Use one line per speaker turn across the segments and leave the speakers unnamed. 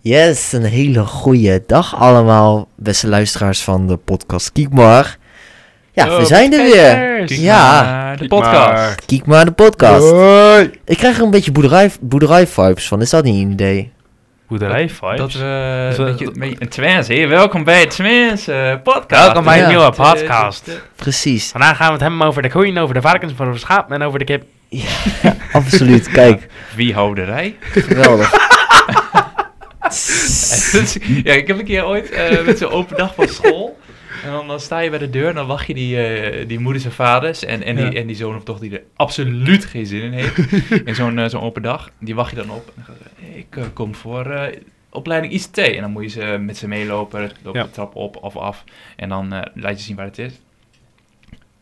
Yes, een hele goede dag allemaal, beste luisteraars van de podcast Kiekmar. Ja,
Yo,
we zijn er weer.
Oh, kijkers.
Kijk
Ja.
maar, de
Kijk
podcast.
maar.
Kiekmar de podcast.
Hoi.
Ik krijg er een beetje boerderij, boerderij vibes van, is dat niet een idee?
Boerderij vibes.
Dat we...
Dat eh, we-
dat je-
dat- een Twens, hey, welkom bij het Twens eh, podcast.
Welkom bij
een
de
Ja.
nieuwe podcast.
Precies,
Vandaag gaan we het hebben over de koeien, over de varkens, over de schaap en over de kip.
absoluut, kijk,
Wie houderij?
geweldig.
ja, ik heb een keer ooit eh, met zo'n open dag van school. En dan, dan sta je bij de deur en dan wacht je die, eh, die moeders en vaders en, en, die,
Ja.
en die zoon of dochter die er absoluut geen zin in heeft. in zo'n eh, zo'n open dag. Die wacht je dan op. En dan gaat ze, ik eh, kom voor eh, opleiding ICT. En dan moet je ze met ze meelopen, loop
Ja.
de trap op of af. En dan eh, laat je zien waar het is.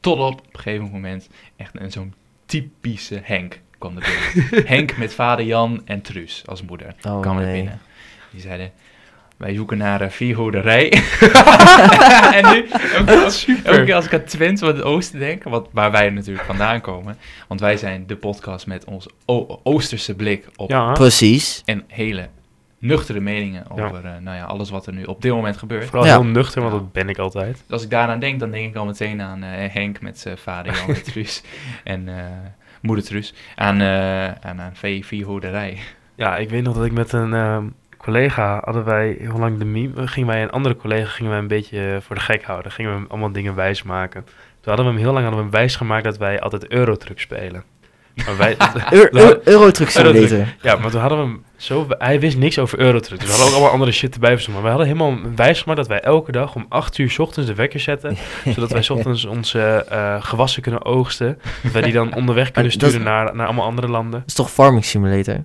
Tot op een gegeven moment echt een- zo'n typische Henk kwam er binnen. Henk met vader Jan en Truus als moeder
Oh,
kwam er
nee.
binnen. Die zeiden, wij zoeken naar een veehouderij. en nu, elke, keer als- elke keer als ik aan Twente van het oosten denk, wat, waar wij natuurlijk vandaan komen. Want wij zijn de podcast met onze o- oosterse blik op
Ja.
Precies,
en hele nuchtere meningen
Ja.
over eh, nou ja, alles wat er nu op dit moment gebeurt.
Vooral
Ja.
heel nuchter, want dat ben ik altijd.
Dus als ik daaraan denk, dan denk ik al meteen aan eh, Henk met zijn vader Jan en Truus. En eh, moeder Truus. Aan, eh aan een vee- veehouderij.
Ja, ik weet nog dat ik met een ehm, collega hadden wij heel lang de meme... eh, Gingen wij een andere collega gingen wij een beetje eh, voor de gek houden. Gingen we hem allemaal dingen wijs maken. Toen hadden we hem heel lang hadden we hem wijs gemaakt dat wij altijd Eurotruck spelen. Maar wij...
Eur-
Nou,
Eur- Eurotruck
Eurotruck.
Simulator.
Ja, maar toen hadden we hem zo... Hij wist niks over Eurotruck. Dus we hadden ook allemaal andere shit erbij verzonnen. Maar we hadden helemaal wijsgemaakt dat wij elke dag om 8 uur 's ochtends de wekker zetten. Zodat wij 's ochtends onze eh, gewassen kunnen oogsten. Dat wij die dan onderweg kunnen
Maar dat-
sturen naar, naar allemaal andere landen.
Dat is toch Farming Simulator?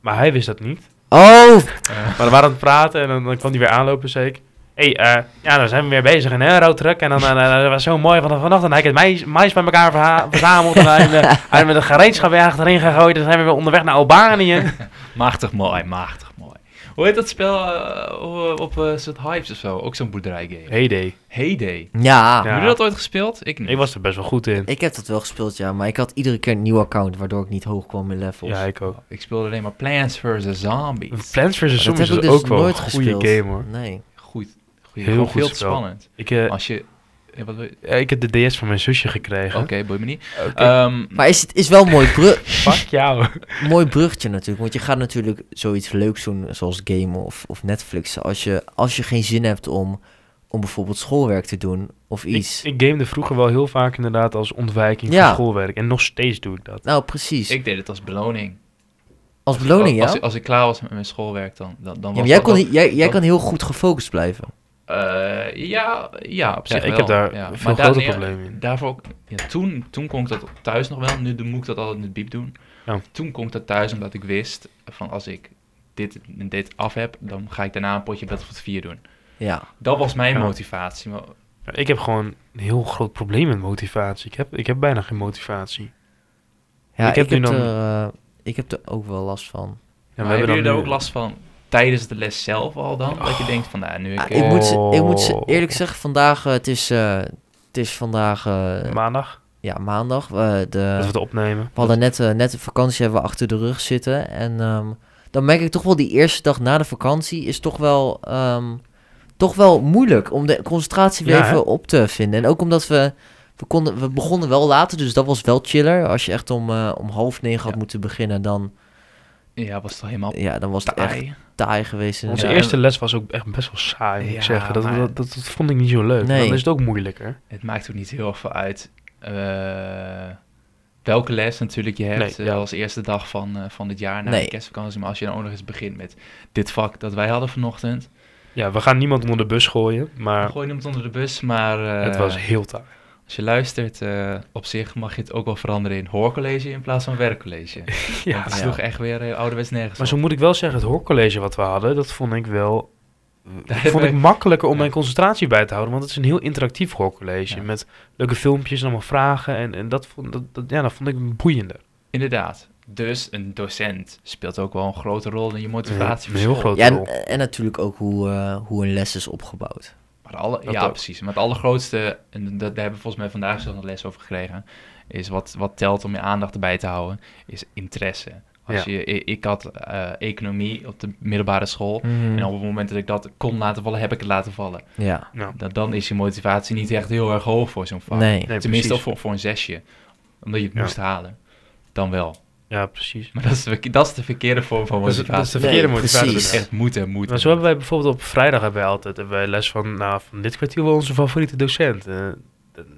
Maar hij wist dat niet.
Oh,
Eh,
Maar we waren aan het praten en dan, dan kwam hij weer aanlopen zei ik... Hé, hey, eh, ja, dan zijn we weer bezig in Eurotruck. En dan eh, eh, dat was zo mooi van vanochtend. Hij heeft het mais, mais bij elkaar verha- verzameld. En hij heeft, eh, hij heeft het gereedschap weer achterin gegooid. En dan zijn we weer onderweg naar Albanië.
Machtig mooi, machtig mooi. Hoe heet dat spel eh, op eh soort hypes of zo? Ook zo'n boerderijgame.
Heyday.
Heyday.
ja.
Ja.
Hebben jullie dat ooit gespeeld? Ik niet.
Ik was er best wel goed in.
Ik heb dat wel gespeeld, ja, maar ik had iedere keer een nieuw account, waardoor ik niet hoog kwam in levels.
Ja, ik ook.
Ik speelde alleen maar Plants vs. Zombies.
Plants vs.
dat heb
Zombies
ik
is
dus
ook wel een
nooit
goede
gespeeld.
game hoor.
Nee.
Goed. goed.
Heel
Heel
goed
veel te
spel.
spannend.
Ik, eh,
Als je... eh, wat wil je-
eh, ik heb de DS van mijn zusje gekregen.
Oké, boeit me niet.
Oké.
Ehm,
Maar is, het is wel een mooi, bru
Fuck jou.
mooi bruggetje natuurlijk. Want je gaat natuurlijk zoiets leuks doen, zoals gamen of, of Netflixen. Als je, als je geen zin hebt om, om bijvoorbeeld schoolwerk te doen of
ik,
iets.
ik gamede vroeger wel heel vaak inderdaad als ontwijking
Ja.
van schoolwerk. En nog steeds doe ik dat.
nou, precies.
ik deed het als beloning.
Als beloning,
Als-
ja?
Als, als ik klaar was met mijn schoolwerk, dan, dan,
ja
dan was
maar jij,
dat
kon,
wel-
hi- jij, jij
dat-
kan heel goed gefocust blijven.
Eh, ja, ja, op
Ja,
zich
ik
wel.
heb daar
Ja.
veel
Maar daar-
groter
nee,
problemen in.
Daarvoor ook, ja, toen, toen kon ik dat thuis nog wel. Nu doe- moet ik dat altijd in het biep doen.
Ja.
Toen kon ik dat thuis omdat ik wist van als ik dit en dit af heb, dan ga ik daarna een potje Battlefield 4 doen.
Ja.
Dat was mijn
Ja.
motivatie. Maar,
Ja, Ik heb gewoon een heel groot probleem met motivatie. Ik heb, ik heb bijna geen motivatie.
ja ik
Ik
heb,
heb nu
er,
dan-
eh, ik heb er ook wel last van.
Ja,
maar hebben jullie daar
nu-
ook last van tijdens de les zelf al dan? Dat je denkt van, nou, nu ik...
Ah,
eh,
ik, moet, ze- ik moet ze
Oh.
eerlijk zeggen, vandaag, eh, het, is, eh, het is vandaag, eh,
Maandag,
ja, maandag. eh, de,
dat we het opnemen.
We hadden net, eh, net de vakantie hebben we achter de rug zitten. En ehm, dan merk ik toch wel die eerste dag na de vakantie is toch wel, ehm, toch wel moeilijk om de concentratie weer
Ja, hè?
even op te vinden. En ook omdat we, we, konden, we begonnen wel later, dus dat was wel chiller. Als je echt om, eh, om half negen had
Ja.
moeten beginnen, dan,
Ja, was het al helemaal
ja, dan was het echt
taai.
taai geweest. En-
Onze
Ja.
eerste les was ook echt best wel saai, moet
Ja,
ik zeggen. Dat,
maar-
dat, dat, dat vond ik niet zo leuk.
Nee.
Dan is het ook moeilijker.
Het maakt ook niet heel erg veel uit eh, welke les natuurlijk je hebt eh,
Nee, ja.
als eerste dag van, eh, van dit jaar na
Nee.
de kerstvakantie. Maar als je dan ook nog eens begint met dit vak dat wij hadden vanochtend.
Ja, we gaan niemand onder de bus gooien, maar
Gooi niemand onder de bus, maar eh,
het was heel taai.
als je luistert, eh, op zich mag je het ook wel veranderen in hoorcollege in plaats van werkcollege. ja,
Ja.
het is
Ja.
toch echt weer eh, ouderwets nergens
Maar zo
op.
moet ik wel zeggen, het hoorcollege wat we hadden, dat vond ik wel
Daar
vond ik
hebben-
makkelijker om
Ja.
mijn concentratie bij te houden. Want het is een heel interactief hoorcollege
Ja.
met leuke filmpjes en allemaal vragen. En, en dat, vond, dat, dat- ja, dat vond ik boeiender.
Inderdaad. Dus een docent speelt ook wel een grote rol in je motivatie.
Een
voor
heel
school.
grote
ja,
rol.
en, en natuurlijk ook hoe, eh, hoe een les is opgebouwd.
Maar de alle,
Dat
ja,
ook.
precies. Maar het allergrootste, en dat, daar hebben we volgens mij vandaag zelf een les over gekregen, is wat, wat telt om je aandacht erbij te houden, is interesse. Als
Ja.
je, ik, ik had eh, economie op de middelbare school.
Mm-hmm.
En
Mm.
op het moment dat ik dat kon laten vallen, heb ik het laten vallen.
Ja,
Dan, dan is je motivatie niet echt heel erg hoog voor zo'n vak.
nee.
Nee,
Tenminste,
precies.
voor, voor een zesje. Omdat je het
Ja.
moest halen. Dan wel.
Ja, precies.
Maar dat is de, verke- dat is de verkeerde vorm van
Dat is, dat is
motivatie.
de verkeerde
Nee,
motivatie.
precies.
Dat is echt moeten, moeten.
Maar zo hebben wij bijvoorbeeld op vrijdag hebben wij altijd hebben wij les van, nou, van dit kwartier wel onze favoriete docent. Eh,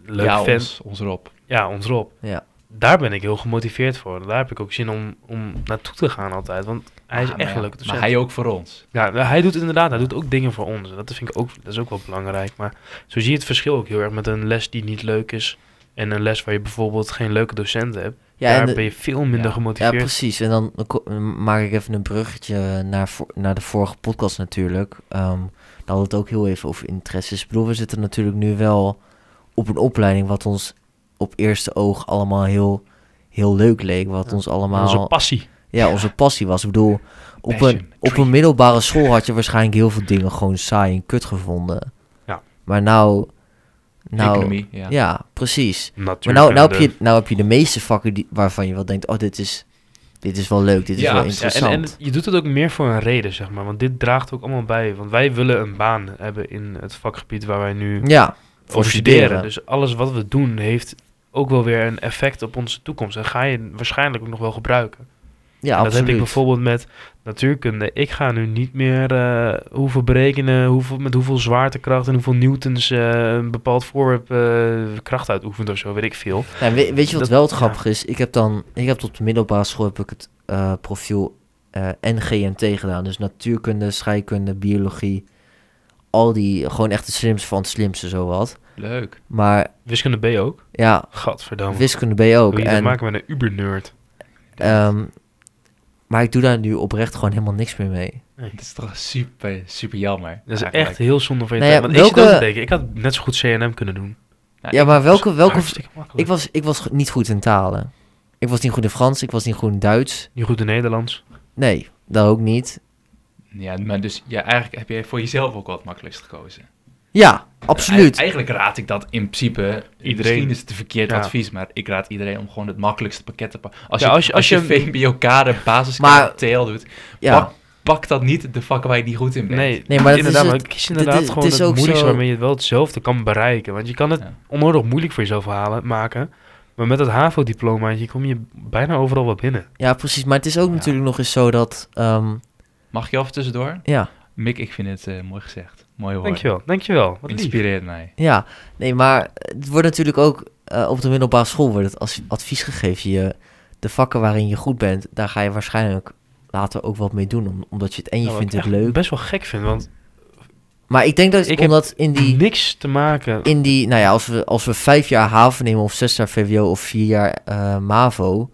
leuk
ja,
vent.
ons, ons erop.
Ja, ons Rob.
Ja.
Daar ben ik heel gemotiveerd voor. Daar heb ik ook zin om, om naartoe te gaan altijd. Want hij is
Ah, maar
echt
ja,
een leuke docent.
Maar hij ook voor ons.
Ja, nou, hij doet inderdaad, hij doet ook dingen voor ons. En Dat vind ik ook, dat is ook wel belangrijk. Maar zo zie je het verschil ook heel erg met een les die niet leuk is. En een les waar je bijvoorbeeld geen leuke docenten hebt.
Ja, en
daar
de-
ben je veel minder
Ja.
ja,
gemotiveerd.
precies. En dan ko- maak ik even een bruggetje naar, vo- naar de vorige podcast natuurlijk. Ehm daar hadden we het ook heel even over interesses. Ik bedoel, we zitten natuurlijk nu wel op een opleiding wat ons op eerste oog allemaal heel, heel leuk leek. Wat
Ja.
ons
Onze
allemaal
passie.
ja, onze passie was. Ik bedoel, op
Passion,
een, op een middelbare school had je waarschijnlijk heel veel dingen gewoon saai en kut gevonden.
Ja.
Maar nou... nou
Economie, ja.
ja. precies. Maar
Natuurlijk.
nou, nou, heb je, nou heb je de meeste vakken die, waarvan je wel denkt, oh, dit is, dit is wel leuk, dit is
Ja,
wel
precies.
interessant.
en, en je doet het ook meer voor een reden, zeg maar. Want dit draagt ook allemaal bij. Want wij willen een baan hebben in het vakgebied waar wij nu
ja,
voor
voor
studeren.
studeren.
Dus alles wat we doen heeft ook wel weer een effect op onze toekomst. En ga je waarschijnlijk ook nog wel gebruiken.
ja,
En dat
absoluut.
heb ik bijvoorbeeld met natuurkunde. Ik ga nu niet meer eh, hoeveel berekenen, hoeveel, met hoeveel zwaartekracht en hoeveel newtons eh, een bepaald voorwerp eh, kracht uitoefent of zo, weet ik veel.
Nou, we- weet je wat
Dat-
wel het
ja.
grappige is? Ik heb dan, ik heb tot de middelbare school heb ik het eh, profiel eh, NGMT gedaan. Dus natuurkunde, scheikunde, biologie, al die, gewoon echt het slimste van het slimste, zowat.
Leuk.
Maar
Wiskunde B ook.
ja,
Gadverdamme.
wiskunde ben je ook.
Wil Oh. je dat
En,
maken met een uber-nerd?
ehm, maar ik doe daar nu oprecht gewoon helemaal niks meer mee.
Het is toch super, super jammer.
Dat is
eigenlijk.
echt heel zonde van je
Nou ja,
tijd. Want ik zit
welke-
ook te denken, ik had net zo goed CNM kunnen doen.
Ja, maar welke, welke,
Hartstikke
Ik
makkelijk.
was, ik was go- niet goed in talen. Ik was niet goed in Frans, ik was niet goed in Duits.
Niet goed in Nederlands.
Nee, dat ook niet.
Ja, maar dus ja, eigenlijk heb je voor jezelf ook wat makkelijkst gekozen.
Ja, absoluut.
Eigen- eigenlijk raad ik dat in principe.
Iedereen.
Misschien is het een verkeerd
Ja.
advies, maar ik raad iedereen om gewoon het makkelijkste pakket te pakken. Als,
Ja,
je, als je, als je
een-
VMBO-kader, basiskader,
Maar-
TL doet,
Ja,
pak, pak dat niet de vakken waar je niet goed in bent.
Nee,
Nee, maar dat is
inderdaad,
het-
maar kies
dit
inderdaad
is-
gewoon
het is
het
ook
moeilijkste
zo-
waarmee je het wel hetzelfde kan bereiken. Want je kan het
Ja.
onnodig moeilijk voor jezelf halen, maken. Maar met het HAVO-diplomaatje kom je bijna overal wel binnen.
ja, precies. Maar het is ook
Ja.
natuurlijk nog eens zo dat... ehm,
Mag je even tussendoor?
ja,
Mick, ik vind het eh, mooi gezegd. Mooi woord.
Dankjewel, dankjewel. Wat lief.
Inspireert mij.
ja. Nee, maar het wordt natuurlijk ook... eh, op de middelbare school wordt het als advies gegeven. Je, de vakken waarin je goed bent, daar ga je waarschijnlijk later ook wat mee doen. om- omdat je het en je
Nou, wat
vindt
ik
het
echt
leuk.
best wel gek vind, want
Maar ik denk dat
Ik heb
omdat in die...
niks te maken...
in die, nou ja, als we, als we vijf jaar haven nemen of zes jaar VWO of vier jaar eh, MAVO,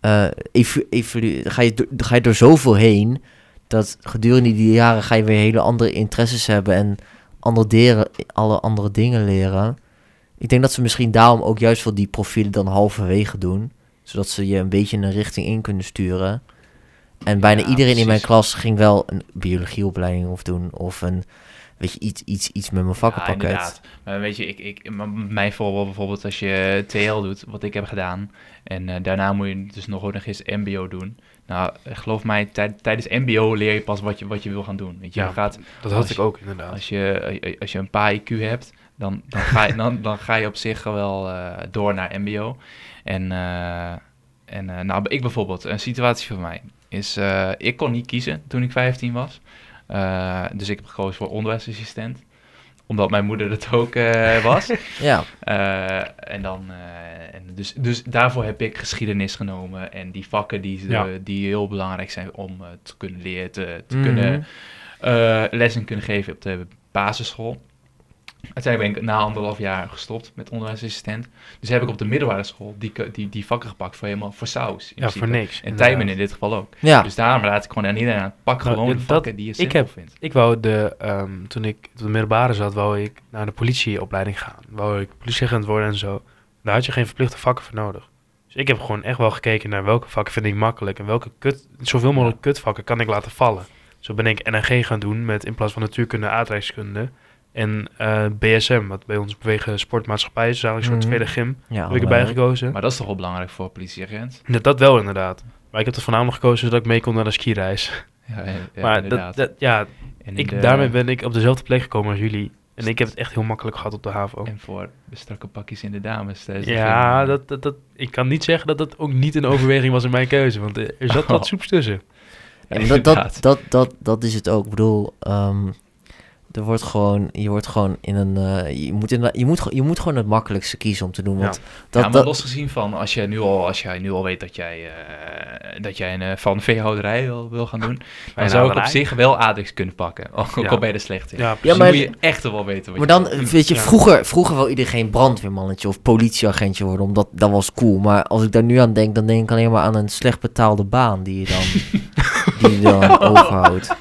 eh, evo- evolu- ga, je, do- ga je door zoveel heen dat gedurende die jaren ga je weer hele andere interesses hebben en andere deren, alle andere dingen leren. Ik denk dat ze misschien daarom ook juist wel die profielen dan halverwege doen, zodat ze je een beetje in een richting in kunnen sturen. En bijna
Ja,
iedereen in mijn
precies.
klas ging wel een biologieopleiding of doen of een, weet je, iets, iets, iets met mijn vakkenpakket.
inderdaad. Maar weet je, ik, ik, m- mijn voorbeeld bijvoorbeeld als je TL doet, wat ik heb gedaan. En eh, daarna moet je dus nog ook nog eens MBO doen. Nou, eh, geloof mij, tij- tijdens MBO leer je pas wat je, wat je wil gaan doen. Weet je,
Ja.
je gaat,
Dat had
als
ik
je-
ook inderdaad.
als, je, eh, als je een paar IQ hebt, dan, dan, ga, je, dan, dan ga je op zich wel eh, door naar MBO. En, eh, en eh, nou, ik bijvoorbeeld, een situatie van mij is, eh, ik kon niet kiezen toen ik 15 was. Eh, dus ik heb gekozen voor onderwijsassistent omdat mijn moeder het ook eh, was.
Ja,
Eh, en dan, eh, en dus, dus daarvoor heb ik geschiedenis genomen en die vakken die, ze-
Ja.
die heel belangrijk zijn om eh, te kunnen leren, te, te
Mhm.
kunnen eh, lessen kunnen geven op de basisschool. Uiteindelijk ben ik na anderhalf jaar gestopt met onderwijsassistent. Dus heb ik op de middelbare school die, ke- die, die vakken gepakt voor helemaal voor saus. in
Ja,
principe.
voor niks.
En
inderdaad.
tijdmen in dit geval ook.
Ja,
Dus daarom raad ik gewoon aan iedereen aan, pak
Nou,
gewoon
ja,
de
dat-
vakken die je simpel
heb-
vindt.
Ik wou de, ehm, toen ik op de middelbare zat, wou ik naar de politieopleiding gaan. Wou ik politieagent worden en zo. Daar had je geen verplichte vakken voor nodig. Dus ik heb gewoon echt wel gekeken naar welke vakken vind ik makkelijk en welke kut, zoveel mogelijk kutvakken kan ik laten vallen. Zo ben ik NNG gaan doen met in plaats van natuurkunde, aardrijkskunde en eh, BSM, wat bij ons bewegen sportmaatschappij is, is eigenlijk een soort
Mhm.
tweede gym,
ja
heb ik erbij
leuk.
gekozen.
Maar dat is toch wel belangrijk voor politieagent?
Dat, dat wel inderdaad. Maar ik heb er voornamelijk gekozen zodat ik mee kon naar de skireis.
Ja, ja, ja,
maar dat,
Eh, inderdaad.
dat, ja,
en
ik,
in de-
daarmee ben ik op dezelfde plek gekomen als jullie. En ik heb het echt heel makkelijk gehad op de HAVO.
En voor de strakke pakjes in de dames. eh, tijdens de
Ja,
film.
dat, dat, dat, ik kan niet zeggen dat dat ook niet een overweging was in mijn keuze. Want eh, er zat wat soeps tussen.
Ja, maar dat, dat,
Inderdaad.
dat, dat, dat is het ook. Ik bedoel, ehm, er wordt gewoon, je wordt gewoon in een. eh, je, moet in, je, moet, ge- je moet gewoon het makkelijkste kiezen om te doen.
Ja.
Want
Ja,
dat,
maar
dat,
losgezien van als jij nu al, als jij nu al weet dat jij, eh, dat jij een, eh, van veehouderij wil, wil gaan doen, dan zou ik op
houderij.
zich wel Adrix kunnen pakken. Ook
Ja.
al ben je er slecht in.
Ja,
Ja,
Ja,
precies.
maar-
maar moet je echt wel weten wat
maar
je
dan,
wil.
eh, weet je,
Ja.
vroeger, vroeger wil iedereen brandweermannetje of politieagentje worden, omdat dat was cool. Maar als ik daar nu aan denk, dan denk ik alleen maar aan een slecht betaalde baan die je dan, die je dan overhoudt.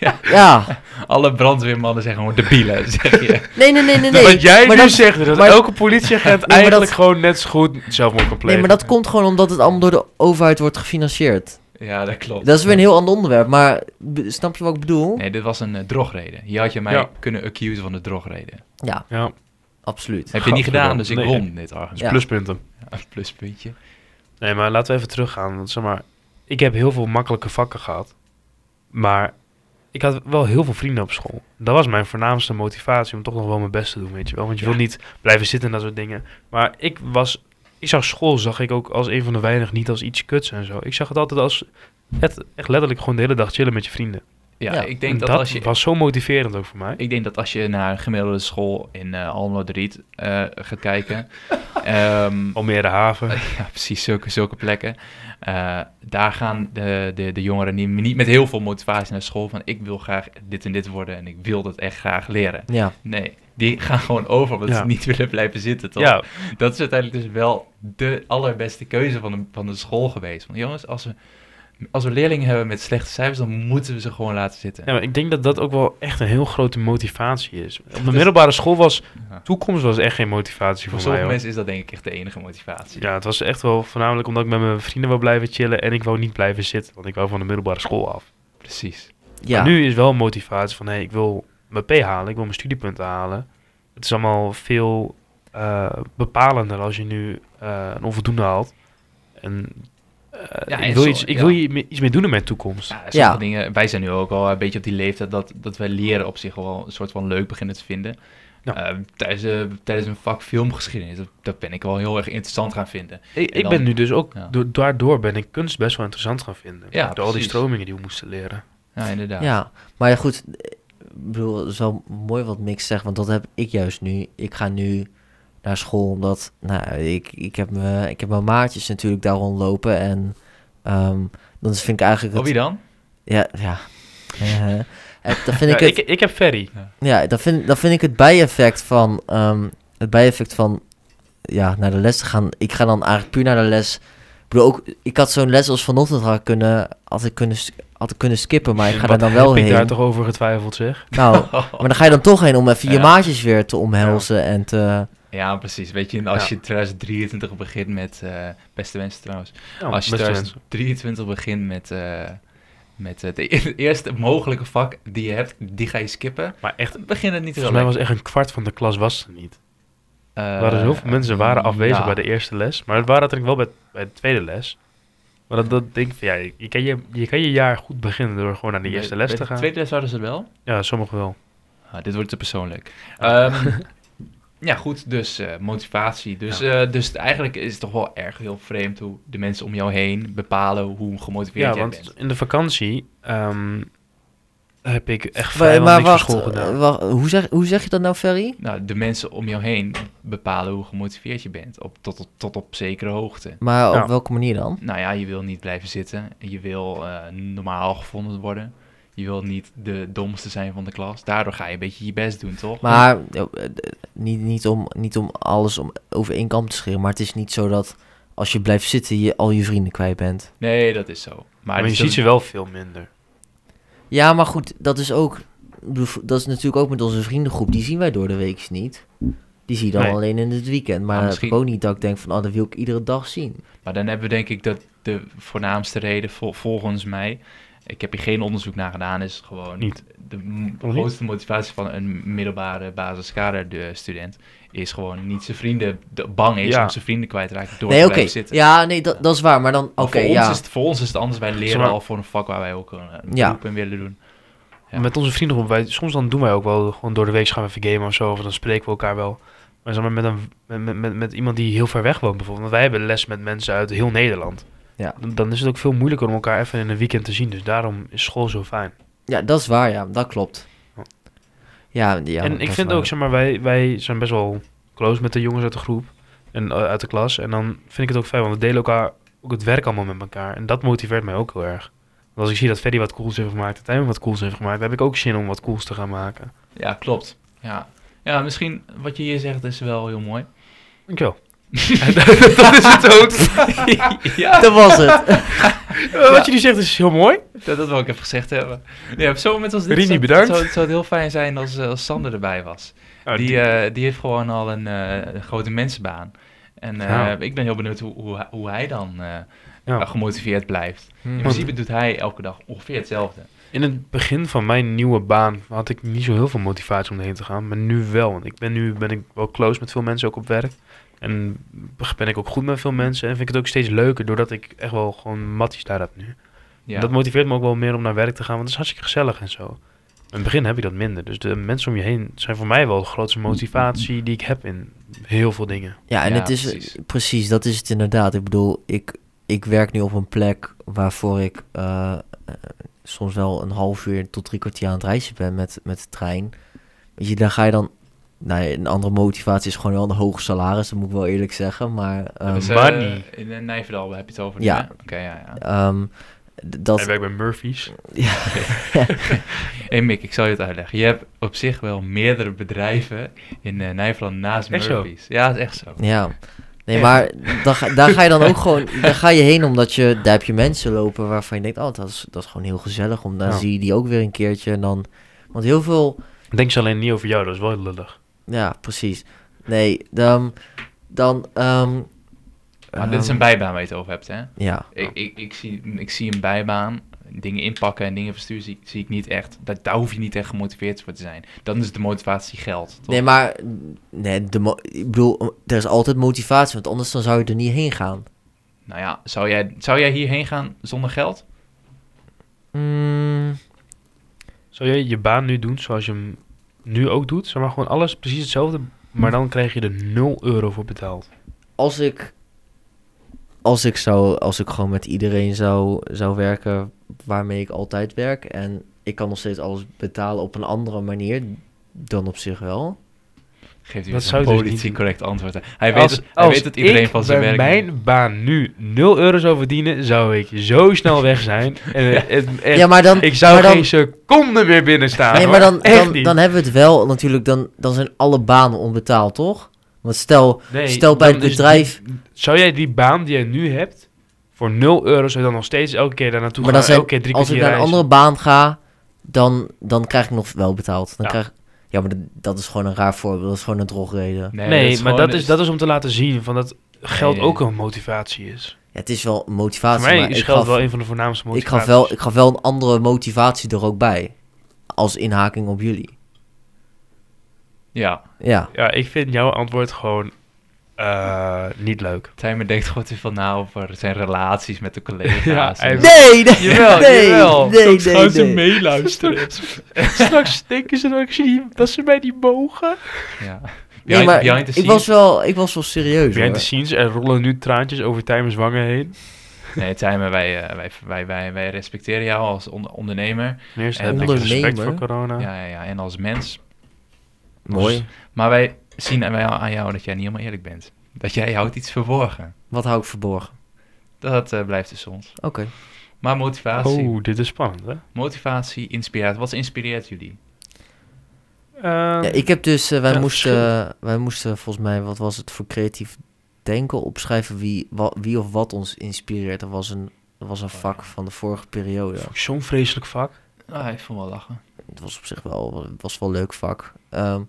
Ja. eh,
Alle brandweermannen zijn gewoon debielen, zeg je.
nee, nee, nee, nee. nee.
Nou, Wat jij
maar
nu
dat-
zegt, dat
maar-
elke politieagent
maar
eigenlijk
dat-
gewoon net zo goed zelfmoord kan
Nee,
plegen.
maar dat komt gewoon omdat het allemaal door de overheid wordt gefinancierd.
Ja, dat klopt.
Dat is weer een heel ander onderwerp, maar b- snap je wat ik bedoel?
Nee, dit was een eh, drogreden. Hier had je mij
Ja.
kunnen accusen van de drogreden.
Ja,
Ja,
absoluut.
Heb je niet gedaan, dus ik
Nee.
won dit argument.
dus
Ja.
pluspunten.
Een pluspuntje.
Nee, maar laten we even teruggaan. Want zeg maar, ik heb heel veel makkelijke vakken gehad. Maar ik had wel heel veel vrienden op school. Dat was mijn voornaamste motivatie om toch nog wel mijn best te doen, weet je wel. Want je wil niet blijven zitten en dat soort dingen. Maar ik was... Ik zag school, zag ik ook als een van de weinig niet als iets kuts en zo. Ik zag het altijd als... Het, echt letterlijk gewoon de hele dag chillen met je vrienden.
Ja,
Ja,
ik
En
denk dat,
dat
als je...
was zo motiverend ook voor mij.
Ik denk dat als je naar een gemiddelde school in eh Almelo de Riet eh, gaat kijken... ehm,
Almere haven.
Ja, precies, zulke, zulke plekken. Eh, daar gaan de, de, de jongeren niet, niet met heel veel motivatie naar school van ik wil graag dit en dit worden en ik wil dat echt graag leren.
Ja,
Nee, die gaan gewoon over omdat
Ja.
ze niet willen blijven zitten. Toch?
Ja,
Dat is uiteindelijk dus wel de allerbeste keuze van de, van de school geweest. Want jongens, als we, als we leerlingen hebben met slechte cijfers, dan moeten we ze gewoon laten zitten.
Ja, maar ik denk dat dat ook wel echt een heel grote motivatie is. Op
Dus-
de middelbare school was
Ja.
toekomst was echt geen motivatie
Voor
voor,
sommige
mij. Hoor.
mensen is dat denk ik echt de enige motivatie.
Ja, het was echt wel voornamelijk omdat ik met mijn vrienden wou blijven chillen en ik wou niet blijven zitten, want ik wou van de middelbare school af.
Precies.
ja.
Maar nu is wel een motivatie van, hé, ik wil mijn P halen, ik wil mijn studiepunten halen. Het is allemaal veel eh, bepalender als je nu eh, een onvoldoende haalt. En, eh,
Ja, en
ik wil,
zo-
iets, ik
ja.
wil hier me- iets mee doen in mijn toekomst.
Ja, sommige
Ja.
dingen, wij zijn nu ook al een beetje op die leeftijd dat, dat wij leren op zich wel een soort van leuk beginnen te vinden.
Ja.
Eh, tijdens, eh, tijdens een vak filmgeschiedenis, dat, dat ben ik wel heel erg interessant gaan vinden.
Ik,
En
ik ben
dan-
nu dus ook,
ja.
do- daardoor ben ik kunst best wel interessant gaan vinden.
Ja,
Door al die
precies.
stromingen die we moesten leren.
Ja, inderdaad.
Ja, maar ja, goed. Ik bedoel, het is wel mooi wat Mick zegt, want dat heb ik juist nu. Ik ga nu naar school omdat, nou, ik, ik, heb, me, ik heb mijn maatjes natuurlijk daar rondlopen. En ehm, dan vind ik eigenlijk...
Oh,
Het,
wie dan?
ja, ja. Eh, en dan vind
Ja,
ik het...
ik, ik heb Ferry.
Ja, dan vind, dan vind ik het bijeffect van... ehm, het bijeffect van... Ja, naar de les te gaan. Ik ga dan eigenlijk puur naar de les. Ik bedoel, ook... Ik had zo'n les als vanochtend had ik kunnen... Had ik kunnen, s- had ik kunnen skippen, maar ik ga er
Wat
dan wel
heb
heen.
ik daar toch over getwijfeld, zeg?
Nou, maar dan ga je dan toch heen om even je
Ja.
maatjes weer te omhelzen en te...
Ja, precies. Weet je, en als
Ja.
je in 2023 begint met, eh, beste wensen trouwens,
Ja,
als je
Oh, beste mensen.
2023 begint met, eh, met het e- het eerste mogelijke vak die je hebt, die ga je skippen,
Maar echt,
begin het niet heel
volgens mij was
lekker.
echt een kwart van de klas was er niet.
Eh, mm,
Er waren zoveel mensen waren afwezig
ja.
bij de e- eerste les. Maar het waren natuurlijk wel bij, bij de tweede les. Maar dat, dat denk ik van, ja, je kan je, je kan je jaar goed beginnen door gewoon naar de eerste
Bij-
les
bij
te
de
gaan.
Tweede les hadden ze het wel?
Ja, sommigen wel.
Ah, dit wordt te persoonlijk. Ehm, ja, goed, dus eh, motivatie. Dus, eh, dus eigenlijk is het toch wel erg heel vreemd hoe de mensen om jou heen bepalen hoe gemotiveerd
Ja,
jij
want
bent.
in de vakantie ehm, heb ik echt
Maar,
vrijwel
maar
niks
wacht,
voor school
eh,
gedaan.
wacht, hoe, zeg, hoe zeg je dat nou, Ferry?
Nou, de mensen om jou heen bepalen hoe gemotiveerd je bent, op, tot, tot, tot op zekere hoogte.
Maar op
Ja.
welke manier dan?
Nou ja, je wil niet blijven zitten, je wil eh, normaal gevonden worden, je wil niet de domste zijn van de klas. Daardoor ga je een beetje je best doen, toch?
Maar eh, eh, niet, niet, om, niet om alles om, over één kamp te scheren, maar het is niet zo dat als je blijft zitten je al je vrienden kwijt bent.
Nee, dat is zo. Maar,
Maar,
het
je
is
ziet
ook-
ze wel veel minder.
Ja, maar goed, dat is ook. ik bedoel, Dat is natuurlijk ook met onze vriendengroep. Die zien wij door de week niet. Die zie je dan
Nee.
alleen in het weekend. Maar
Ah,
het
misschien-
ook niet dat ik denk van, oh, dat wil ik iedere dag zien.
Maar dan hebben we denk ik dat de voornaamste reden vol- volgens mij. Ik heb hier geen onderzoek naar gedaan, is gewoon
Niet.
de m-
Of niet?
grootste motivatie van een middelbare basiskader-student is gewoon niet zijn vrienden de- bang is
Ja.
om zijn vrienden kwijt te raken door
Nee,
te
oké.
blijven zitten.
Ja, nee, dat, dat is waar. Maar dan, oké,
Maar voor,
ja.
ons is het, voor ons is het anders. Wij leren
Zomaar-
al voor een vak waar wij ook een een
Ja.
beroep in willen doen. Ja.
Met onze vriendengroep, wij, soms dan doen wij ook wel gewoon door de week gaan we even gamen of zo. Of dan spreken we elkaar wel. Maar zeg maar met, een, met- met, met, met iemand die heel ver weg woont bijvoorbeeld. Want wij hebben les met mensen uit heel Nederland.
Ja.
Dan, dan is het ook veel moeilijker om elkaar even in een weekend te zien. Dus daarom is school zo fijn.
Ja, dat is waar, ja. Dat klopt. Ja, ja.
en
dat
ik
is
vind
waar.
ook, zeg maar, wij, wij zijn best wel close met de jongens uit de groep en eh, uit de klas. En dan vind ik het ook fijn, want we delen elkaar ook het werk allemaal met elkaar. En dat motiveert mij ook heel erg. Want als ik zie dat Ferry wat cools heeft gemaakt, dat Tijmen wat cools heeft gemaakt, dan heb ik ook zin om wat cools te gaan maken.
Ja, klopt. Ja. ja, misschien wat je hier zegt is wel heel mooi.
Dankjewel.
dat is het ook. ja,
Dat was het.
wel. Wat je nu zegt is heel mooi.
dat, dat wil ik even gezegd hebben. Nee, op zo'n moment als dit
Rini,
zou-
bedankt. Ah,
Zou, zou het heel fijn zijn als, eh, als Sander erbij was. die, eh, die heeft gewoon al een, eh, een grote mensenbaan. En eh,
Ja.
ik ben heel benieuwd hoe, hoe, hij- hoe hij dan eh,
Ja.
gemotiveerd blijft. In
Hmm.
principe doet hij elke dag ongeveer hetzelfde.
In het begin van mijn nieuwe baan had ik niet zo heel veel motivatie om erheen te gaan. Maar nu wel. Want ik ben nu ben ik wel close met veel mensen ook op werk. En ben ik ook goed met veel mensen. En vind ik het ook steeds leuker doordat ik echt wel gewoon matties daar heb nu.
Ja.
Dat motiveert me ook wel meer om naar werk te gaan. Want het is hartstikke gezellig en zo. In het begin heb ik dat minder. Dus de mensen om je heen zijn voor mij wel de grootste motivatie die ik heb in heel veel dingen.
Ja, en
Ja,
het is
precies.
precies. dat is het inderdaad. Ik bedoel, ik, ik werk nu op een plek waarvoor ik eh, eh, soms wel een half uur tot drie kwartier aan het reizen ben met, met de trein. Weet je, daar ga je dan. Nou, ja, een andere motivatie is gewoon wel een hoog salaris, dat moet ik wel eerlijk zeggen. Maar ehm,
Dus, eh,
Barney.
in eh, Nijverdal heb je het over. nu,
Ja.
hè? Oké, ja, ja.
ehm, d- dat,
Hij werkt bij Murphy's.
Hey Mick, ik zal je het uitleggen. Je hebt op zich wel meerdere bedrijven in eh Nijverland naast
Echt zo?
Murphy's. Ja, dat is echt zo.
Ja. Nee,
Ja.
maar dan ga- daar ga je dan ook gewoon... Daar ga je heen omdat je... Daar heb je mensen lopen waarvan je denkt... Oh, dat is, dat is gewoon heel gezellig. Om, dan
Ja.
zie je die ook weer een keertje. En dan... Want heel veel...
Denk ze alleen niet over jou, dat is wel lullig.
Ja, precies. Nee, dan... Dan... ehm,
Maar dit is een
ehm,
bijbaan waar je het over hebt, hè?
Ja.
Ik, ik, ik, zie, ik zie een bijbaan, dingen inpakken en dingen versturen zie, zie ik niet echt. Daar, daar hoef je niet echt gemotiveerd voor te zijn. Dan is de motivatie geld, toch?
Nee, maar... Nee, de mo- ik bedoel... Er is altijd motivatie. Want anders dan zou je er niet heen gaan.
Nou ja, zou jij, zou jij hierheen gaan zonder geld?
Mm,
Zou jij je baan nu doen zoals je hem nu ook doet? Zeg maar gewoon alles precies hetzelfde, maar dan krijg je er 0 euro voor betaald.
als ik... Als ik zou... Als ik gewoon met iedereen zou, zou werken... waarmee ik altijd werk. En ik kan nog steeds alles betalen op een andere manier dan op zich wel.
Geeft u
Dat
eens
zou
een
je dus niet
politiek
doen.
correct antwoord. hè? Hij weet, het, hij weet dat iedereen van zijn werk...
mijn baan nu 0 euro zou verdienen, zou ik zo snel weg zijn. En,
ja, maar dan.
ik zou
maar dan-
geen seconde meer binnen staan.
nee, maar dan, dan, dan hebben we het wel natuurlijk. Dan, dan zijn alle banen onbetaald, toch? Want stel, stel bij het bedrijf.
zou jij die baan die jij nu hebt, voor 0 euro zou je dan nog steeds elke keer daar naartoe
Maar
gaan?
dan zijn-
elke keer drie
als ik
kwartier
naar een andere
reizen?
baan ga, dan, dan krijg ik nog wel betaald. Dan
Ja.
krijg, ja, maar dat, dat is gewoon een raar voorbeeld. Dat is gewoon een drogreden.
Nee,
Nee, maar
gewoon-
dat, is, dat is om te laten zien van dat geld
Nee.
ook een motivatie is.
Ja, het is wel een
Voor
motivatie.
mij
maar
is
ik
geld
gaf,
wel een van de voornaamste
ik,
motivaties.
gaf wel, ik gaf wel een andere motivatie er ook bij. Als inhaking op jullie.
Ja,
Ja.
Ja, ik vind jouw antwoord gewoon eh, niet leuk.
Timer denkt gewoon te veel na over zijn relaties met de collega's.
Ja,
en
hij
zo.
wil-
Nee, nee,
Jawel,
nee,
jawel.
nee,
Soms
nee,
gaan ze
nee.
meeluisteren.
Straks denken ze dat, ze mij niet mogen.
ja.
Nee,
Behind-
maar
behind the
ik
scenes-
was wel, ik was wel serieus.
Behind the
hoor.
scenes, er rollen nu traantjes over Timer's wangen heen.
Nee, Timer, wij, eh, wij, wij, wij, wij respecteren jou als on- ondernemer.
Ten eerste
En
heb ik respect
ondernemer.
voor corona.
Ja, ja, ja, en als mens.
Mooi.
Maar wij zien aan- wij aan jou dat jij niet helemaal eerlijk bent. Dat jij houdt iets verborgen.
Wat hou ik verborgen?
Dat eh, blijft dus ons.
Oké.
Maar motivatie.
Oh, dit is spannend, hè?
Motivatie, inspiratie. Wat inspireert jullie?
Ehm,
Ja, ik heb dus, eh, wij,
Ja,
moesten, wij moesten volgens mij, wat was het voor creatief denken, opschrijven wie, wa- wie of wat ons inspireert. Dat was een, dat was een vak van de vorige periode.
Zo'n vreselijk vak.
Ah, ik vond wel lachen.
Het was op zich wel, het was wel een leuk vak. Ehm,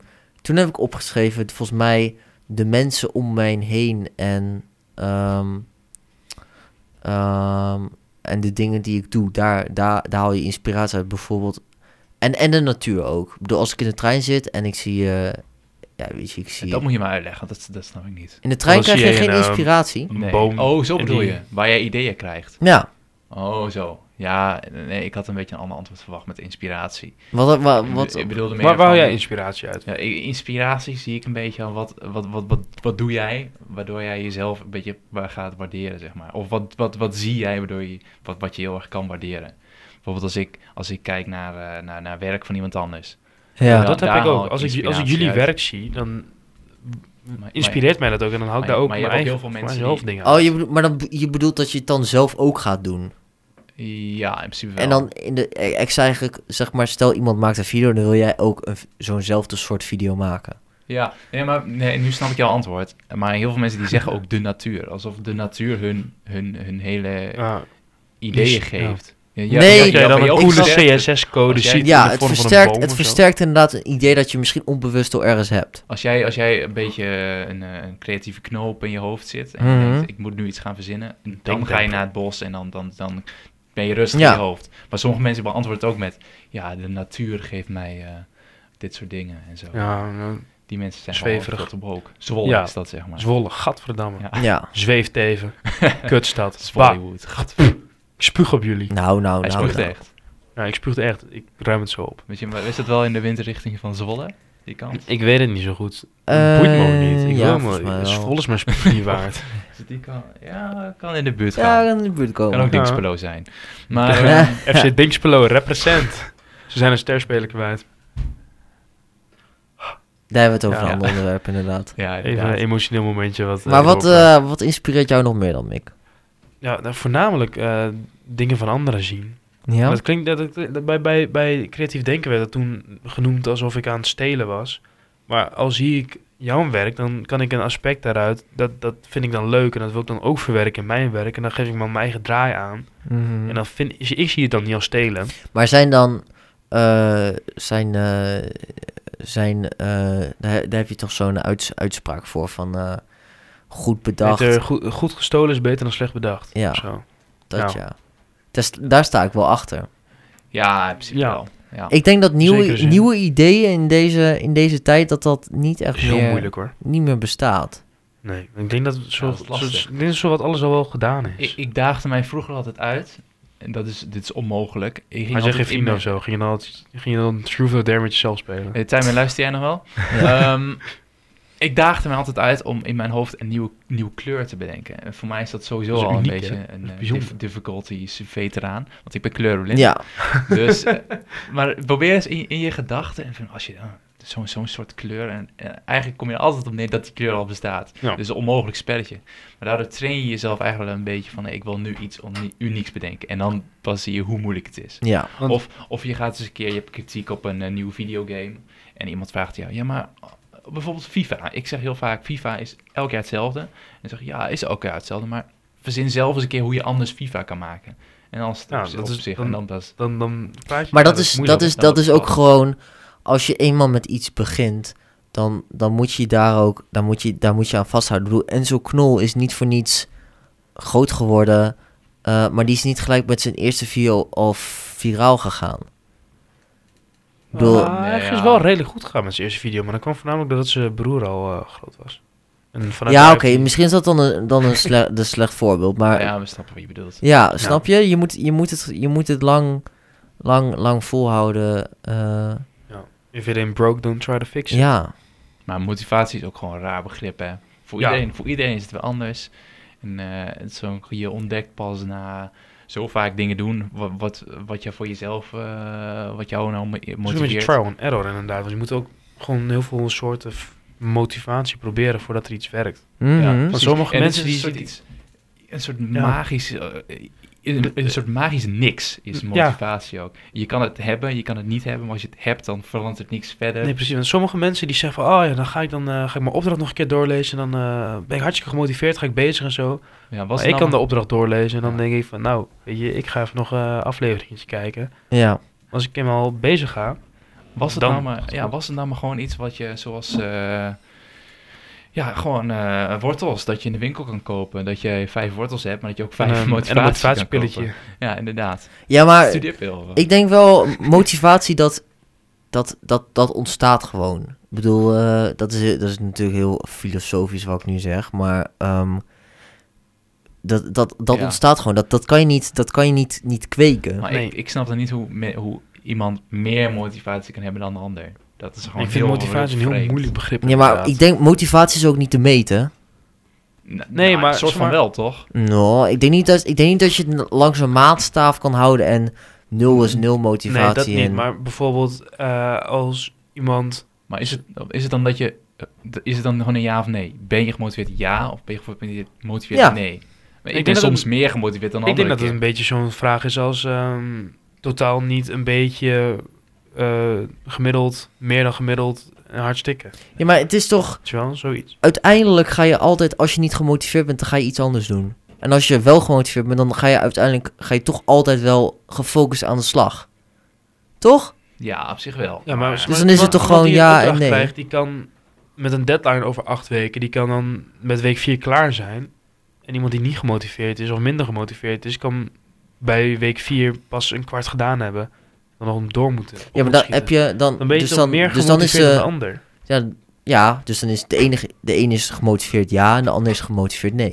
toen heb ik opgeschreven, volgens mij, de mensen om mij heen en ehm, eh, Ehm, en de dingen die ik doe, daar, daar, daar haal je inspiratie uit. Bijvoorbeeld. En, en de natuur ook. Ik bedoel, als ik in de trein zit en ik zie. eh, ja, weet je, ik zie.
Dat moet je maar uitleggen, dat, dat snap ik niet.
In de trein
Dan
krijg
zie
je
je
geen
een, ehm,
inspiratie.
Een
Nee.
boom
Oh, zo
en
bedoel
die-
je. Waar jij ideeën krijgt.
Nou,
Oh, zo. Ja, nee, ik had een beetje een ander antwoord verwacht met inspiratie.
wat, wat,
Ik
wat,
be- ik bedoelde meer
Waar waar haal
van-
jij inspiratie uit?
Ja, i- inspiratie zie ik een beetje aan wat, wat, wat, wat, wat doe jij, waardoor jij jezelf een beetje wa- gaat waarderen, zeg maar. Of wat, wat, wat zie jij, waardoor je, wat, wat je heel erg kan waarderen. Bijvoorbeeld als ik, als ik kijk naar, eh, naar, naar werk van iemand anders.
ja.
Ja.
dat heb
daar
ik
haal
ook.
ik
Als ik, als ik
inspiratie
jullie
uit.
werk zie, dan
Maar- maar-
inspireert mij dat ook. En dan hou ik
maar-
daar ook
maar
mijn
je hebt ook
eigen
heel veel
mijn
mensen
eigen
die-
hoofddingen
Oh,
uit.
je bedoelt, maar dan, je bedoelt dat je het dan zelf ook gaat doen.
Ja, in principe wel.
En dan in de. e, Ik zei eigenlijk, zeg maar, stel iemand maakt een video, dan wil jij ook een v- zo'nzelfde soort video maken.
Ja, nee, maar nee, nu snap ik jouw antwoord. Maar heel veel mensen die zeggen ook de natuur. Alsof de natuur hun, hun, hun hele
Ja.
ideeën
ja.
geeft. Ja,
Nee.
Dat jij dan
heel
een
goed
gezegd
coole
gezegd.
CSS-code
Als jij-
ziet in
Ja,
de
het
vorm van een
versterkt,
boom
het
of zo.
versterkt inderdaad een idee dat je misschien onbewust al ergens hebt.
Als jij, als jij een beetje een, eh, een creatieve knoop in je hoofd zit en
Mhm.
je denkt, ik moet nu iets gaan verzinnen, dan
Denk
ga je
dan.
naar het bos en dan, dan, dan ben je rustig
Ja.
in je hoofd. Maar sommige mensen beantwoorden het ook met, ja, de natuur geeft mij eh, dit soort dingen en zo.
Ja, ja.
Die mensen zijn
Zweverig.
gewoon veel te broek. Zwolle
Ja.
is dat, zeg maar.
Zwolle, gadverdamme.
Ja.
Ja.
Zweeft even. Kutstad. Bah,
Zwolle.
ik spuug op jullie.
Nou, nou,
Hij
nou.
spuugt
nou.
echt.
Ja, ik spuugde echt. Ik ruim het zo op.
Weet je, maar is dat wel in de windrichting van Zwolle? Die kant?
Ik weet het niet zo goed.
Eh,
Boeit me ook niet. Ik
ja,
wil
volgens mij
me. Is
wel.
volgens mijn spuug niet waard.
Is het die kant? Ja, kan in de buurt gaan.
Ja, in de buurt
kan
komen.
ook
Ja.
Dingspelo zijn. Maar
Ja.
ehm,
FC Dinkspelo, represent. Ze zijn een sterspeler kwijt.
Daar hebben we het over
Ja.
een ander onderwerp, inderdaad.
ja,
Even
inderdaad.
een emotioneel momentje. Wat, eh,
Maar wat,
erop gaat.
eh, wat inspireert jou nog meer dan, Mick?
ja, nou, voornamelijk eh, dingen van anderen zien.
Ja?
Dat klinkt, dat, dat- dat- bij, bij, bij creatief denken werd dat toen genoemd alsof ik aan het stelen was. Maar al zie ik jouw werk, dan kan ik een aspect daaruit, dat, dat vind ik dan leuk en dat wil ik dan ook verwerken in mijn werk. En dan geef ik maar mijn eigen draai aan.
Mhm.
En dan vind ik zie het dan niet als stelen.
Maar zijn dan... eh, zijn... eh, zijn eh, daar, daar heb je toch zo'n uits- uitspraak voor van... eh, goed bedacht.
Beter, goed, goed gestolen is beter dan slecht bedacht.
Ja.
of Zo.
Dat
Ja.
ja. Daar st- daar sta ik wel achter.
Ja, in principe
Ja.
wel. Ja.
Ik denk dat nieuwe,
zekere zin.
nieuwe ideeën in deze, in deze tijd... dat dat niet echt
Is heel
meer,
moeilijk hoor.
niet meer bestaat.
Nee, ik denk dat, zo,
dat is lastig.
zo- ik denk dat zo wat alles al wel gedaan is.
Ik, ik daagde mij vroeger altijd uit. En dat is, dit is onmogelijk. Ik ging
Hij zei geen
altijd in
vrienden
mijn-
of zo. Ging je dan, altijd- ging je dan Truth or Dare met jezelf spelen?
Eh, Tijmen, luister jij nog wel? Ehm, ik daagde mij altijd uit om in mijn hoofd een nieuwe, nieuwe kleur te bedenken. En voor mij is dat sowieso
Dat is
al een
uniek,
beetje
hè?
een
Dat is
eh,
bijzonder.
dif- difficulties veteraan. Want ik ben kleurblind.
Ja.
Dus, eh, maar probeer eens in, in je gedachten. En van, als je dan zo'n zo'n soort kleur. En, en eigenlijk kom je er altijd op neer dat die kleur al bestaat.
Ja.
Dus een onmogelijk spelletje. Maar daardoor train je jezelf eigenlijk wel een beetje van: hey, ik wil nu iets onie- unieks bedenken. En dan pas zie je hoe moeilijk het is.
Ja.
Want-
Of, of je gaat eens een keer, je hebt kritiek op een eh, nieuwe videogame. En iemand vraagt jou, ja maar eh, bijvoorbeeld FIFA. Nou, Ik zeg heel vaak, FIFA is elk jaar hetzelfde. En zeg je, ja, is elk jaar hetzelfde. Maar verzin zelf eens een keer hoe je anders FIFA kan maken. En dan
Ja,
staat
dat
het op
is-
zich.
dan-
en dan pas...
Dan, dan praat je
Maar
ja,
dat, is,
moeilijk.
dat, is,
Ja,
dat
dat
is ook
klopt.
gewoon, als je eenmaal met iets begint, dan, dan moet je daar ook, dan moet je, daar moet je aan vasthouden. Ik bedoel, Enzo Knol is niet voor niets groot geworden, eh, maar die is niet gelijk met zijn eerste video al viraal gegaan. Ik bedoel,
Ah,
Nee,
hij is
ja.
wel redelijk goed gegaan met zijn eerste video. Maar dat kwam voornamelijk doordat zijn broer al eh, groot was. En vanuit
ja,
daar
oké,
heeft hij-
misschien is dat dan een, dan een, sle de slecht voorbeeld, maar ja,
ja, we snappen wat je bedoelt.
snap je? Je moet, je moet het, je moet het lang, lang, lang volhouden. eh,
If it ain't broke, don't try to fix it.
ja,
Maar motivatie is ook gewoon een raar begrip, hè. Voor,
Ja.
iedereen, voor iedereen is het wel anders. En eh, het is zo'n- je ontdekt pas na zo vaak dingen doen... wat, wat, wat je voor jezelf... eh, wat jou nou mo-
Het is een beetje
motiveert.
trial and error inderdaad. Want je moet ook gewoon heel veel soorten f- motivatie proberen voordat er iets werkt.
Mhm.
Ja,
Want
precies.
sommige
En dit
mensen
is
die-
een soort,
die-
iets, een soort magisch, eh, een, een soort magisch niks is
Ja.
motivatie ook. Je kan het hebben, je kan het niet hebben, maar als je het hebt, dan verandert het niks verder.
Nee, precies. Want sommige mensen die zeggen van, oh ja, dan ga ik, dan, eh, ga ik mijn opdracht nog een keer doorlezen. En dan eh, ben ik hartstikke gemotiveerd, ga ik bezig en zo.
ja, was
Maar
het
ik kan
nou-
de opdracht doorlezen en dan
Ja.
denk ik van, nou, weet je, ik ga even nog een afleveringetje kijken.
ja.
Als ik eenmaal bezig ga,
was het
dan-
nou maar, ja, was het nou maar gewoon iets wat je zoals eh, Ja, gewoon eh, wortels dat je in de winkel kan kopen. Dat je vijf wortels hebt, maar dat je ook
En,
vijf
ehm, en
motivatie
een
kan
motivatiepilletje.
kopen. Ja, inderdaad.
Ja, maar
Studeerpil.
ik denk wel, motivatie, dat, dat, dat, dat ontstaat gewoon. Ik bedoel, eh, dat, is, dat is natuurlijk heel filosofisch wat ik nu zeg, maar ehm, dat, dat, dat
Ja.
ontstaat gewoon. Dat, dat kan je niet, dat kan je niet, niet kweken.
Maar
Nee.
ik, ik snap dan niet hoe, me- hoe iemand meer motivatie kan hebben dan de ander. Dat is gewoon
Ik vind
heel,
motivatie een heel
vreemd.
moeilijk begrip.
Ja, maar
inderdaad.
ik denk, motivatie is ook niet te meten.
N-
Nee,
nou,
maar-
Een soort van
maar-
wel, toch?
Nou, ik denk niet dat, ik denk niet dat je het langs een maatstaaf kan houden en nul is nul motivatie.
Mm. Nee, dat niet.
en-
Maar bijvoorbeeld eh, als iemand...
Maar is het, is het dan dat je... eh, d- Is het dan gewoon een ja of nee? Ben je gemotiveerd ja of ben je gemotiveerd gemotiveerd
Ja.
nee? Maar ik,
denk
ben
dat
soms
het-
meer gemotiveerd dan
Ik
anderen.
denk dat het een beetje zo'n vraag is als... ehm, totaal niet een beetje eh, gemiddeld, meer dan gemiddeld, en hard stikken.
Ja, maar het is toch...
Weet je wel, zoiets.
uiteindelijk ga je altijd, als je niet gemotiveerd bent, dan ga je iets anders doen. En als je wel gemotiveerd bent, dan ga je uiteindelijk ga je toch altijd wel gefocust aan de slag. Toch?
Ja, op zich wel.
Ja, maar,
Dus dan is het toch gewoon
die een
ja en
opdracht
nee?
Krijgt, die kan met een deadline over acht weken, die kan dan met week vier klaar zijn. En iemand die niet gemotiveerd is of minder gemotiveerd is, kan bij week vier pas een kwart gedaan hebben. Dan nog door moeten.
Ja, maar dan heb je dan.
Dan ben je
dus
toch
dan,
meer
dus
gemotiveerd
dan is
dan de
eh
ander.
ja, ja, dus dan is de enige, de ene is gemotiveerd ja en de ander is gemotiveerd nee.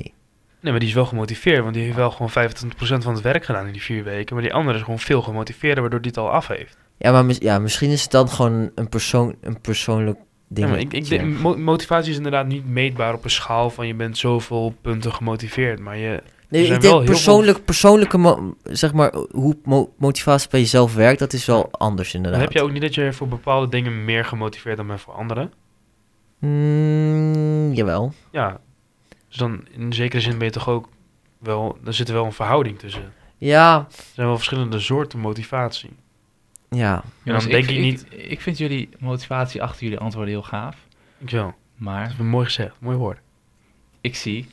Nee, maar die is wel gemotiveerd, want die heeft wel gewoon 25% van het werk gedaan in die vier weken. Maar die andere is gewoon veel gemotiveerder, waardoor die het al af heeft.
Ja, maar mis- ja, misschien is het dan gewoon een, persoon, een persoonlijk ding.
Ja, maar ik, ik,
Ja.
denk- mo- motivatie is inderdaad niet meetbaar op een schaal van je bent zoveel punten gemotiveerd. Maar je,
Nee,
Er zijn
ik denk
wel heel
persoonlijk, persoonlijke, mo- zeg maar, hoe mo- motivatie bij jezelf werkt, dat is wel anders
dan
inderdaad.
heb je ook niet dat je voor bepaalde dingen meer gemotiveerd dan bent voor anderen.
Mm, jawel.
Ja, dus dan in zekere zin ben je toch ook wel, er zit wel een verhouding tussen.
Ja,
Er zijn wel verschillende soorten motivatie.
ja.
Jongens,
dan denk ik
Ik, ik vind jullie motivatie achter jullie antwoorden heel gaaf.
Ik wel.
Maar
Dat is mooi gezegd, mooi woord.
ik zie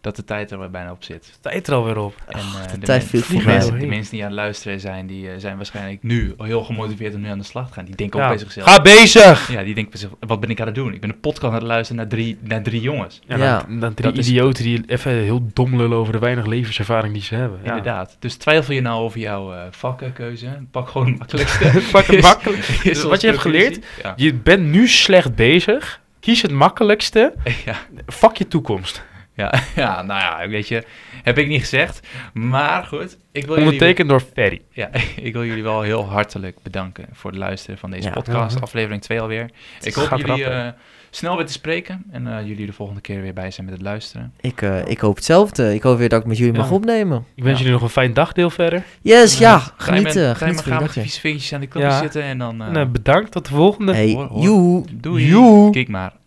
dat de tijd er weer bijna op zit.
Tijd er alweer op.
En, eh,
de tijd
men-
vliegt
die
voorbij.
mensen, die mensen die aan het luisteren zijn, die eh, zijn waarschijnlijk nu al heel gemotiveerd om nu aan de slag te gaan. Die denken ook
Ja.
bij zichzelf.
Ga bezig!
Ja, die denken bij zichzelf, wat ben ik aan het doen? Ik ben een podcast aan het luisteren naar drie, naar drie jongens.
Ja,
Ja.
Dan, dan drie
Dat is-
idioten die even heel dom lullen over de weinig levenservaring die ze hebben. Ja.
Inderdaad. Dus twijfel je nou over jouw eh, vakkenkeuze? Pak gewoon het makkelijkste.
Pak het
Is-
makkelijk.
is
Dus
onze
wat je hebt
conclusie. Ja.
Je bent nu slecht bezig. Kies het makkelijkste.
ja.
Fuck je toekomst.
Ja, ja, nou ja, weet je, heb ik niet gezegd. Maar goed, ik wil, jullie,
Ondertekend door Ferry.
ja, ik wil jullie wel heel hartelijk bedanken voor het luisteren van deze
Ja.
podcast,
Ja.
aflevering 2 alweer. Ik
gaat
hoop jullie
rap, hè?
eh, snel weer te spreken en eh, jullie de volgende keer weer bij zijn met het luisteren.
Ik, eh, ik hoop hetzelfde. Ik hoop weer dat ik met jullie
Ja.
mag opnemen.
Ik
Ja.
wens jullie nog een fijn dagdeel verder.
Yes, Dus ja.
Ga je met-
Genieten.
ga je
Genieten van
maar
je
gaan met
dagje.
vieze vingertjes aan de knoppen
Ja.
zitten en dan... eh,
En, eh, bedankt, tot de volgende.
Hey,
hoor, hoor.
joe.
doei.
joe.
Kijk maar.